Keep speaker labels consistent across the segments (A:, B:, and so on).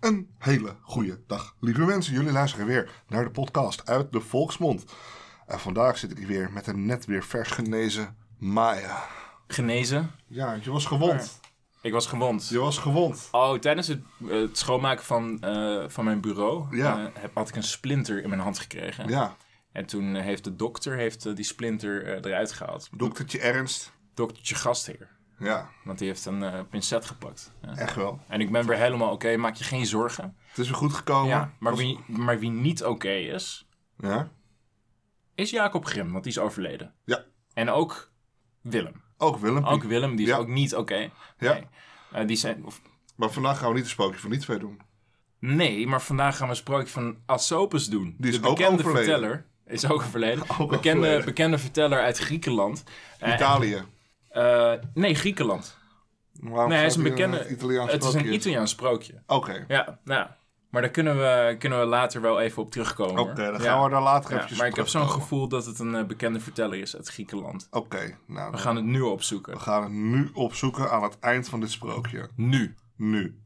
A: Een hele goede dag, lieve mensen. Jullie luisteren weer naar de podcast uit de Volksmond. En vandaag zit ik weer met een net weer vers genezen Maya.
B: Genezen.
A: Ja, je was gewond.
B: Ik was gewond.
A: Je was gewond.
B: Oh, tijdens het, eh, het schoonmaken van, eh, van mijn bureau
A: Ja.
B: eh, heb, had ik een splinter in mijn hand gekregen.
A: Ja,
B: En toen eh, heeft de dokter heeft, eh, die splinter eh, eruit gehaald.
A: doktertje Ernst.
B: Doktertje gastheer.
A: Ja,
B: Want die heeft een eh, pincet gepakt. Ja.
A: echt wel.
B: En ik ben weer helemaal oké, maak je geen zorgen.
A: Het is weer goed gekomen.
B: Ja, maar, wie, maar wie niet oké is,
A: Ja?
B: is Jacob Grim, want die is overleden.
A: Ja.
B: En ook Willem.
A: Ook Willem.
B: Ook Willem, die is
A: Ja.
B: ook niet oké.
A: Ja.
B: Nee. Eh, die zijn, of
A: Maar vandaag gaan we niet een spookje van die twee doen.
B: Nee, maar vandaag gaan we een sprookje van Asopus doen.
A: Die is
B: de
A: ook
B: bekende
A: overleden.
B: verteller. Is ook verleden.
A: Ook
B: bekende,
A: overleden.
B: bekende verteller uit Griekenland. Eh,
A: Italië.
B: eh, nee, Griekenland.
A: Waarom
B: nee, hij is
A: staat
B: een
A: hier
B: bekende.
A: Italiaans
B: het is een
A: sprookje?
B: Italiaans sprookje.
A: Oké.
B: Ja, nou. Maar daar kunnen we, kunnen we later wel even op terugkomen.
A: Oké,
B: hoor.
A: dan
B: Ja.
A: gaan we daar later
B: Ja,
A: eventjes
B: Maar
A: op
B: ik heb zo'n
A: terugkomen.
B: gevoel dat het een eh, bekende verteller is uit Griekenland.
A: Oké, nou,
B: We gaan het nu opzoeken.
A: we gaan het nu opzoeken aan het eind van dit sprookje.
B: Nu.
A: Nu.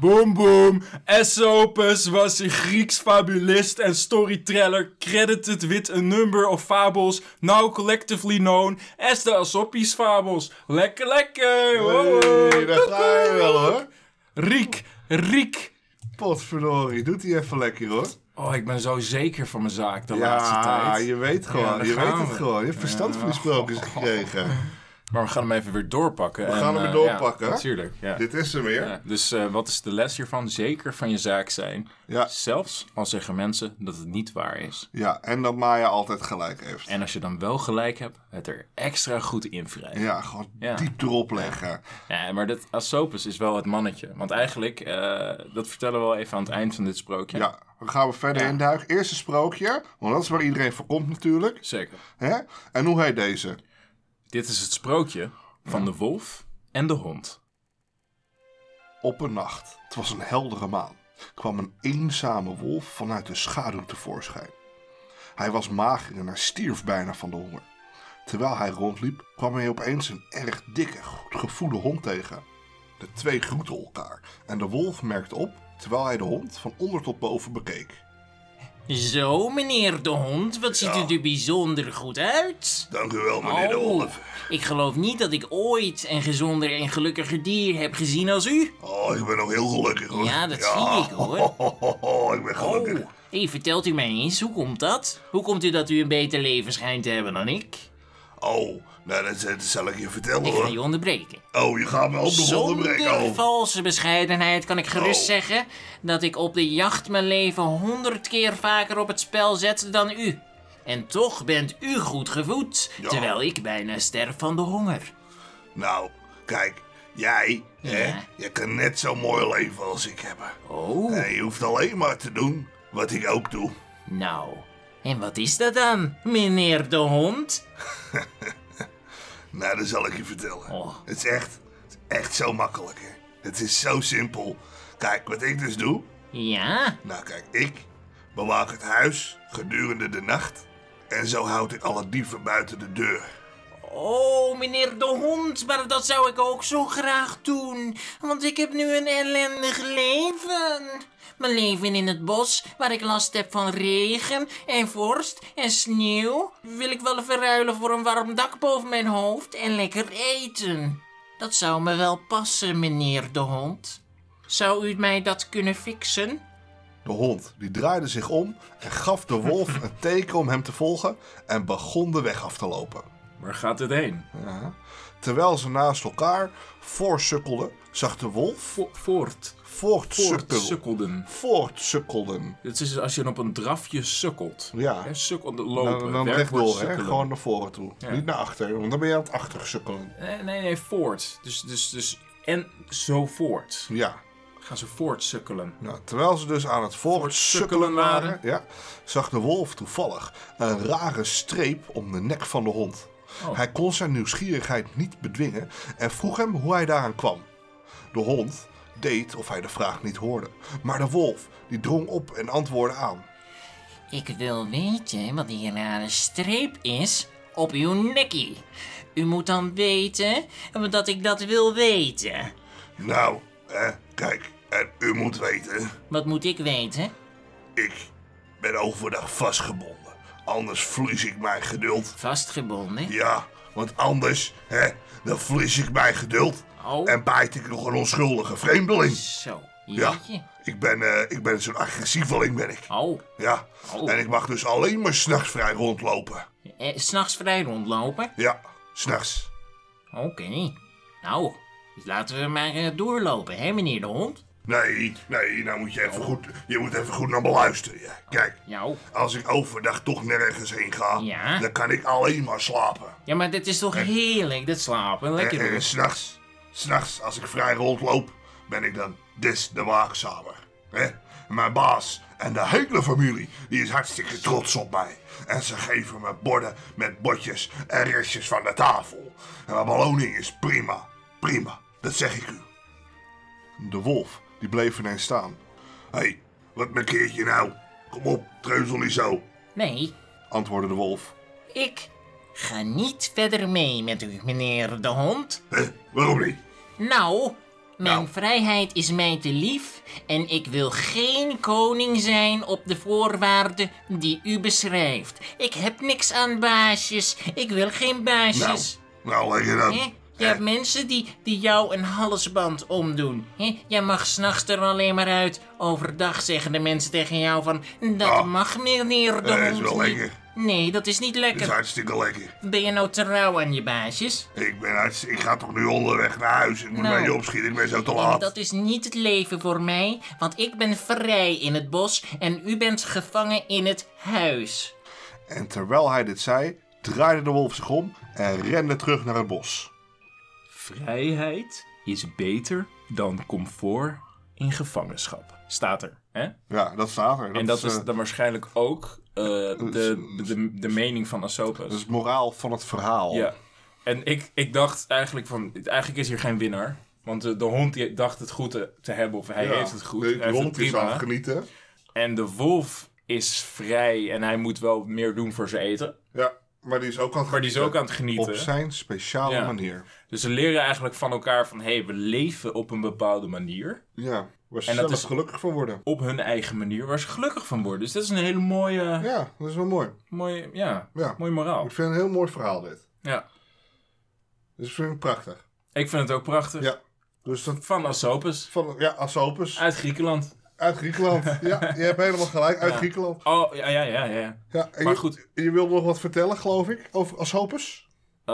B: Boom boom. Aesopus was een Grieks fabulist en storyteller, credited with a number of fables, now collectively known as the Aesopis fables. Lekker, lekker! Wow.
A: Hey, daar ga je wel hoor.
B: Riek, Riek!
A: Potverdorie, doet hij even lekker hoor.
B: Oh, ik ben zo zeker van mijn zaak de laatste
A: Ja,
B: tijd.
A: je weet gewoon,
B: Ja, daar
A: je weet
B: gaan
A: het
B: we.
A: gewoon. Je hebt verstand van die sprookjes gekregen.
B: Maar we gaan hem even weer doorpakken. We
A: gaan hem weer doorpakken, hè?
B: natuurlijk, ja.
A: Dit is hem
B: Ja,
A: weer.
B: Dus eh, wat is de les hiervan? Zeker van je zaak zijn.
A: Ja.
B: Zelfs al zeggen mensen dat het niet waar is.
A: Ja, en dat Maya altijd gelijk heeft.
B: En als je dan wel gelijk hebt, het er extra goed in wrijven.
A: Ja, gewoon
B: Ja.
A: diep erop leggen.
B: Ja, maar dat Asopus is wel het mannetje. Want eigenlijk, eh, dat vertellen we wel even aan het eind van dit sprookje.
A: Ja, dan gaan we verder
B: Ja.
A: induiken. Eerste sprookje, want dat is waar iedereen voor komt natuurlijk.
B: Zeker.
A: Hè? En hoe heet deze?
B: Dit is het sprookje van de wolf en de hond.
A: Op een nacht, het was een heldere maan, kwam een eenzame wolf vanuit de schaduw tevoorschijn. Hij was mager en hij stierf bijna van de honger. Terwijl hij rondliep, kwam hij opeens een erg dikke, goed gevoede hond tegen. De twee groeten elkaar en de wolf merkte op terwijl hij de hond van onder tot boven bekeek.
C: Zo, meneer de hond, wat ziet u er bijzonder goed uit?
A: Dank u wel,
C: Oh, ik geloof niet dat ik ooit een gezonder en gelukkiger dier heb gezien als u.
A: Oh, ik ben nog heel gelukkig hoor.
C: Ja, dat zie ik, hoor.
A: ik ben
C: Oh, hey, vertelt u mij eens, hoe komt dat? Hoe komt u dat u een beter leven schijnt te hebben dan ik?
A: Oh, nou, dat, zal ik je vertellen
C: Ik ga je onderbreken.
A: Oh, je gaat me ook
C: Zonder valse bescheidenheid kan ik gerust
A: Oh.
C: zeggen dat ik op de jacht mijn leven honderd keer vaker op het spel zet dan u. En toch bent u goed gevoed,
A: Ja.
C: terwijl ik bijna sterf van de honger.
A: Nou, kijk, jij, hè, je kan net zo mooi leven als ik heb.
C: Oh.
A: En je hoeft alleen maar te doen wat ik ook doe.
C: Nou, en wat is dat dan, meneer de hond?
A: Nou, dat zal ik je vertellen.
C: Oh.
A: Het is echt, het is echt zo makkelijk, hè. Het is zo simpel. Kijk, wat ik dus doe.
C: Ja,
A: Nou, kijk, ik bewaak het huis gedurende de nacht. En zo houd ik alle dieven buiten de deur.
C: oh meneer de hond, maar dat zou ik ook zo graag doen, want ik heb nu een ellendig leven. Mijn leven in het bos, waar ik last heb van regen en vorst en sneeuw, wil ik wel verruilen voor een warm dak boven mijn hoofd en lekker eten. Dat zou me wel passen, meneer de hond. Zou u mij dat kunnen fixen?
A: De hond die draaide zich om en gaf de wolf een teken om hem te volgen en begon de weg af te lopen.
B: Waar gaat dit heen?
A: Ja. Terwijl ze naast elkaar voorsukkelden, zag de wolf
B: Vo- Voort.
A: voortsukkel-
B: Voortsukkelden.
A: voortsukkelden.
B: Het is dus als je op een drafje sukkelt.
A: Ja.
B: Hè, sukkel,
A: Dan,
B: lopen.
A: dan
B: werkwoord
A: rechtdoor, hè?
B: sukkelen.
A: gewoon naar voren toe. Niet naar achter, want dan ben je aan het achter sukkelen.
B: Nee, nee, nee, voort. Dus, dus, dus, en zo voort.
A: Ja.
B: Gaan ze voortsukkelen.
A: Nou, terwijl ze dus aan het voortsukkelen
B: Voortsukkelen waren.
A: waren, ja, zag de wolf toevallig een rare streep om de nek van de hond. Hij kon zijn nieuwsgierigheid niet bedwingen en vroeg hem hoe hij daaraan kwam. De hond deed of hij de vraag niet hoorde, maar de wolf die drong op en antwoordde aan.
C: Ik wil weten wat die rare streep is op uw nekkie. U moet dan weten dat ik dat wil weten.
A: Nou, hè, kijk, en u moet weten,
C: Wat moet ik weten?
A: ik ben overdag vastgebonden. Anders verlies ik mijn geduld.
C: Vastgebonden.
A: Ja, want anders, hè, dan verlies ik mijn geduld.
C: Oh.
A: En bijt ik nog een onschuldige vreemdeling.
C: Zo.
A: Ja,
C: Jeetje.
A: ik ben, eh, ik ben zo'n agressieveling ben ik.
C: Oh.
A: Ja,
C: Oh.
A: en ik mag dus alleen maar s'nachts vrij rondlopen.
C: Eh, S'nachts vrij rondlopen?
A: Ja, s'nachts.
C: Oké. Nou, dus laten we maar eh, doorlopen, hè, meneer de hond?
A: Nee, nee, nou moet je
C: Oh.
A: even goed, je moet even goed naar me luisteren. ja. Kijk,
C: Nou.
A: als ik overdag toch nergens heen ga,
C: Ja?
A: dan kan ik alleen maar slapen.
C: Ja, maar dit is toch heerlijk, dat slapen. Lekker
A: En, en
C: dus.
A: Eh, s'nachts, s'nachts als ik vrij rondloop, ben ik dan des de waakzamer. Hè? Mijn baas en de hele familie, die is hartstikke trots op mij. En ze geven me borden met botjes en restjes van de tafel. En mijn beloning is prima, prima, dat zeg ik u. De wolf, die bleef ineens staan. Hé, hey, wat markeert je nou? Kom op, treuzel niet zo,
C: Nee,
A: antwoordde de wolf.
C: ik ga niet verder mee met u, meneer de hond.
A: Hè, waarom niet?
C: Nou, mijn
A: Nou.
C: vrijheid is mij te lief en ik wil geen koning zijn op de voorwaarden die u beschrijft. Ik heb niks aan baasjes, ik wil geen
A: Nou,
C: baasjes.
A: nou Eh. lekker dan.
C: Hè? Je hebt mensen die, die jou een halsband omdoen. Hè? Jij mag s'nachts er alleen maar uit. Overdag zeggen de mensen tegen jou van... Dat
A: Ah.
C: mag meneer de
A: Eh, is
C: hond
A: wel
C: niet."
A: lekker.
C: Nee, dat is niet
A: Dat is
C: lekker.
A: hartstikke lekker.
C: Ben je nou trouw aan je baasjes?
A: Ik ben uit, ik ga toch nu onderweg naar huis. Ik moet
C: Nou.
A: naar je opschieten, ik ben zo te
C: En
A: laat.
C: dat is niet het leven voor mij, want ik ben vrij in het bos en u bent gevangen in het huis.
A: En terwijl hij dit zei, draaide de wolf zich om en rende terug naar het bos.
B: Vrijheid is beter dan comfort in gevangenschap. Staat er, hè?
A: Ja, dat staat er. Dat
B: en dat
A: is,
B: is
A: eh,
B: dan waarschijnlijk ook eh, de, de, de mening van Asopus.
A: dat is moraal van het verhaal.
B: Ja. En ik, ik dacht eigenlijk van, eigenlijk is hier geen winnaar. Want eh, de, de hond die dacht het goed te, te hebben, of hij
A: Ja,
B: heeft het goed.
A: de
B: hij heeft het
A: hond is aan
B: prima.
A: het genieten.
B: En de wolf is vrij en hij moet wel meer doen voor zijn eten.
A: Ja, maar die is ook aan het
B: Maar die is ook aan het genieten.
A: Op zijn speciale
B: Ja.
A: manier.
B: Dus ze leren eigenlijk van elkaar van, hé, hey, we leven op een bepaalde manier.
A: Ja, waar ze
B: En dat
A: zelf
B: is-
A: gelukkig van worden.
B: Op hun eigen manier, waar ze gelukkig van worden. Dus dat is een hele mooie,
A: Ja, dat is wel mooi.
B: mooie, ja,
A: Ja.
B: mooie moraal.
A: Ik vind het een heel mooi verhaal dit.
B: Ja.
A: Dus ik vind het prachtig.
B: Ik vind het ook prachtig.
A: Ja. Dus dat
B: Van Asopus,
A: van, ja, Asopus.
B: uit Griekenland.
A: Uit Griekenland. Ja, je hebt helemaal gelijk. Uit Griekenland.
B: Oh, ja, ja, ja, ja.
A: Ja, en
B: Maar
A: je,
B: goed.
A: Je wilde nog wat vertellen, geloof ik, over Asopus?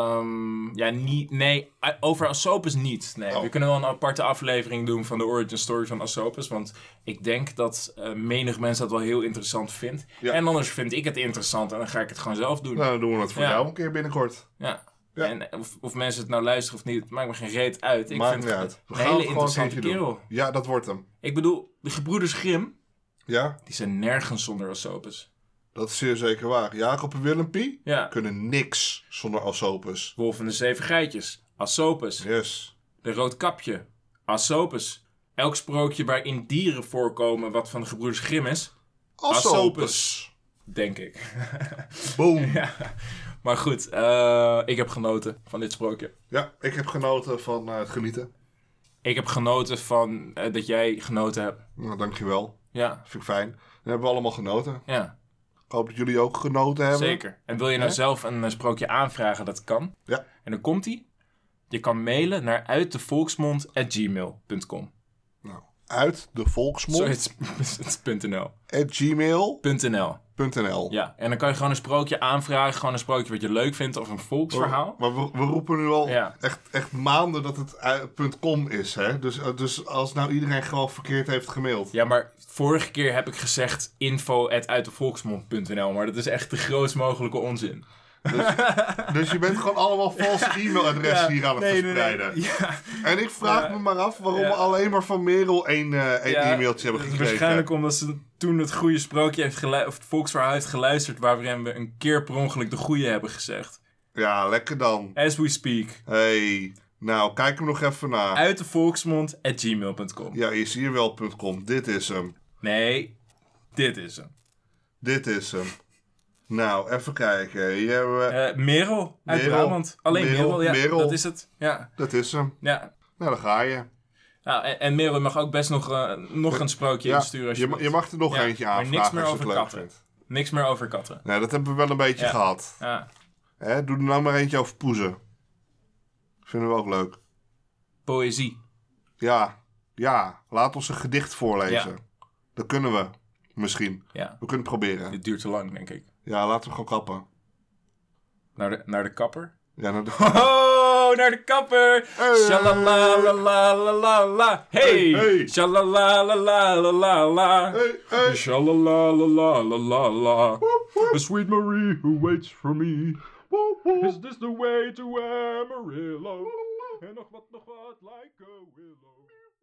B: Ehm, ja, niet, nee, a- over Asopus niet. Nee,
A: Oh.
B: we kunnen wel een aparte aflevering doen van de origin story van Asopus. Want ik denk dat eh, menig mens dat wel heel interessant vindt.
A: Ja.
B: En anders vind ik het interessant en dan ga ik het gewoon zelf doen. Ja.
A: Nou, dan doen we dat voor
B: Ja.
A: jou een keer binnenkort. Ja.
B: En eh, of, of mensen het nou luisteren of niet, het maakt me geen reet uit. Ik
A: Maakt
B: vind
A: niet
B: het
A: uit. We
B: een
A: gaan
B: hele
A: het gewoon een
B: interessante
A: keertje
B: kerel.
A: Ja, dat wordt hem.
B: Ik bedoel, de gebroeders Grim,
A: Ja,
B: die zijn nergens zonder Asopus.
A: dat is zeer zeker waar. Jacob en Willempie
B: Ja,
A: kunnen niks zonder Asopus.
B: Wolf en de Zeven Geitjes, Asopus.
A: Yes.
B: De Roodkapje, Asopus. Elk sprookje waarin dieren voorkomen wat van de gebroeders Grimm is, Asopus. denk ik.
A: Boom. Ja.
B: ja. Maar goed, eh, ik heb genoten van dit sprookje.
A: ik heb genoten van eh, het genieten.
B: Ik heb genoten van eh, dat jij genoten hebt.
A: Nou, dankjewel.
B: Ja,
A: Vind ik fijn. Dan hebben we allemaal genoten.
B: ja,
A: Ik hoop dat jullie ook genoten hebben.
B: zeker. En wil je nou zelf een eh, sprookje aanvragen, dat kan.
A: Ja.
B: En dan komt ie. Je kan mailen naar uitdevolksmond.gmail.com
A: Nou, uit de
B: Sorry,
A: volksmond
B: het is- het is .nl.
A: at gmail.nl.
B: .nl. Ja, en dan kan je gewoon een sprookje aanvragen. Gewoon een sprookje wat je leuk vindt of een volksverhaal.
A: Maar we, we roepen nu al
B: Ja.
A: echt, echt maanden dat het eh, .com is, hè? Dus, eh, dus als nou iedereen gewoon verkeerd heeft gemaild.
B: Ja, maar vorige keer heb ik gezegd info maar dat is echt de grootst mogelijke onzin.
A: Dus je bent gewoon allemaal valse e-mailadressen hier aan het verspreiden.
B: Ja,
A: En ik vraag
B: Ja.
A: me maar af waarom
B: Ja.
A: we alleen maar van Merel één, eh, één
B: ja,
A: e-mailtje hebben
B: dat is
A: gekregen.
B: Waarschijnlijk omdat ze toen het goede sprookje heeft geluisterd, of het volksverhaal heeft geluisterd, waarin we een keer per ongeluk de goede hebben gezegd.
A: Ja, lekker dan.
B: As we speak.
A: hey, nou kijk hem nog even na.
B: Uit de volksmond at gmail.com.
A: Ja, is hier wel.com. Dit is hem.
B: Nee, dit is hem.
A: Dit is hem. Nou, even kijken. Hier hebben we...
B: Eh, Merel uit
A: Merel.
B: Brabant. Alleen
A: Merel,
B: Merel, ja.
A: Merel.
B: Dat is het. Ja.
A: Dat is hem.
B: ja.
A: Nou, daar ga je.
B: Nou, en, en Merel je mag ook best nog, eh, nog een sprookje
A: Ja,
B: insturen. Als je,
A: je, ma-
B: wilt.
A: je mag er nog
B: Ja,
A: eentje
B: maar
A: aanvragen
B: niks meer
A: als je
B: over
A: het leuk
B: katten.
A: vindt.
B: Niks meer over katten.
A: Nou, dat hebben we wel een beetje
B: Ja.
A: gehad.
B: Ja.
A: Hè, doe er nou maar eentje over poezen. Vinden we ook leuk.
B: Poëzie.
A: Ja, ja. Laat ons een gedicht voorlezen. Dat kunnen we. Misschien.
B: Ja.
A: We kunnen het proberen.
B: Dit duurt te lang, denk ik.
A: Ja, laten we gewoon kappen.
B: Naar de, naar de kapper.
A: Ja, nou, de-
B: Oh, naar de kapper. Shalalalalala. Hey.
A: hey.
B: Shalalalalala.
A: Hey, hey.
B: Dus- Shalalalalala.
A: woep.
B: Sweet Marie who waits for me.
A: Woe, woe.
B: Is this the way to Amarillo? En nog wat, nog wat, like a willow.